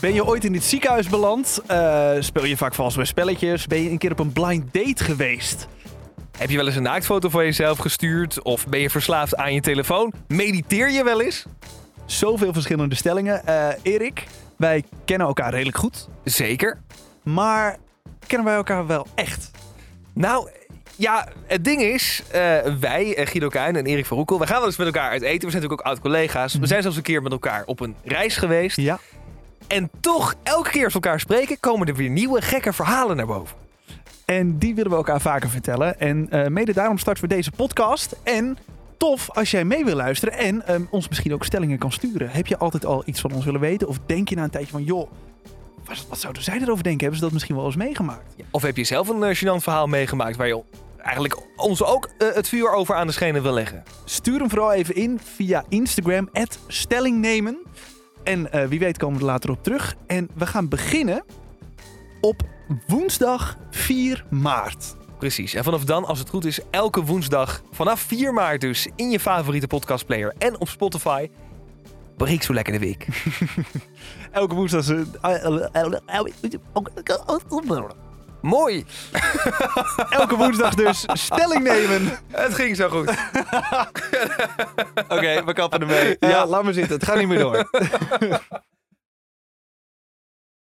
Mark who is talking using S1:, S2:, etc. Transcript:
S1: Ben je ooit in het ziekenhuis beland? Eh, speel je vaak vals bij spelletjes? Ben je een keer op een blind date geweest?
S2: Heb je wel eens een naaktfoto van jezelf gestuurd? Of ben je verslaafd aan je telefoon? Mediteer je wel eens?
S1: Zoveel verschillende stellingen. Eh, Erik, wij kennen elkaar redelijk goed.
S2: Zeker.
S1: Maar kennen wij elkaar wel echt?
S2: Nou, ja, het ding is, eh, wij, eh, Guido Kuin en Erik van Roekel, we gaan wel eens met elkaar uit eten. We zijn natuurlijk ook oud-collega's. We zijn zelfs een keer met elkaar op een reis geweest.
S1: Ja.
S2: En toch, elke keer als we elkaar spreken, komen er weer nieuwe gekke verhalen naar boven.
S1: En die willen we elkaar vaker vertellen. En eh, mede daarom starten we deze podcast. En tof als jij mee wil luisteren en ehm, ons misschien ook stellingen kan sturen. Heb je altijd al iets van ons willen weten? Of denk je na een tijdje van, joh, wat, wat zouden zij erover denken? Hebben ze dat misschien wel eens meegemaakt?
S2: Of heb je zelf een eh, gênant verhaal meegemaakt waar je eigenlijk ons ook eh, het vuur over aan de schenen wil leggen?
S1: Stuur hem vooral even in via Instagram, stellingnemen. En eh, wie weet komen we er later op terug. En we gaan beginnen op woensdag 4 maart.
S2: Precies. En vanaf dan, als het goed is, elke woensdag vanaf 4 maart dus in je favoriete podcastplayer en op Spotify. Breek zo lekker de week.
S1: Elke woensdag...
S2: Mooi.
S1: Elke woensdag dus stelling nemen.
S2: Het ging zo goed.
S1: Oké, we kappen ermee. Ja, laat maar zitten. Het gaat niet meer door.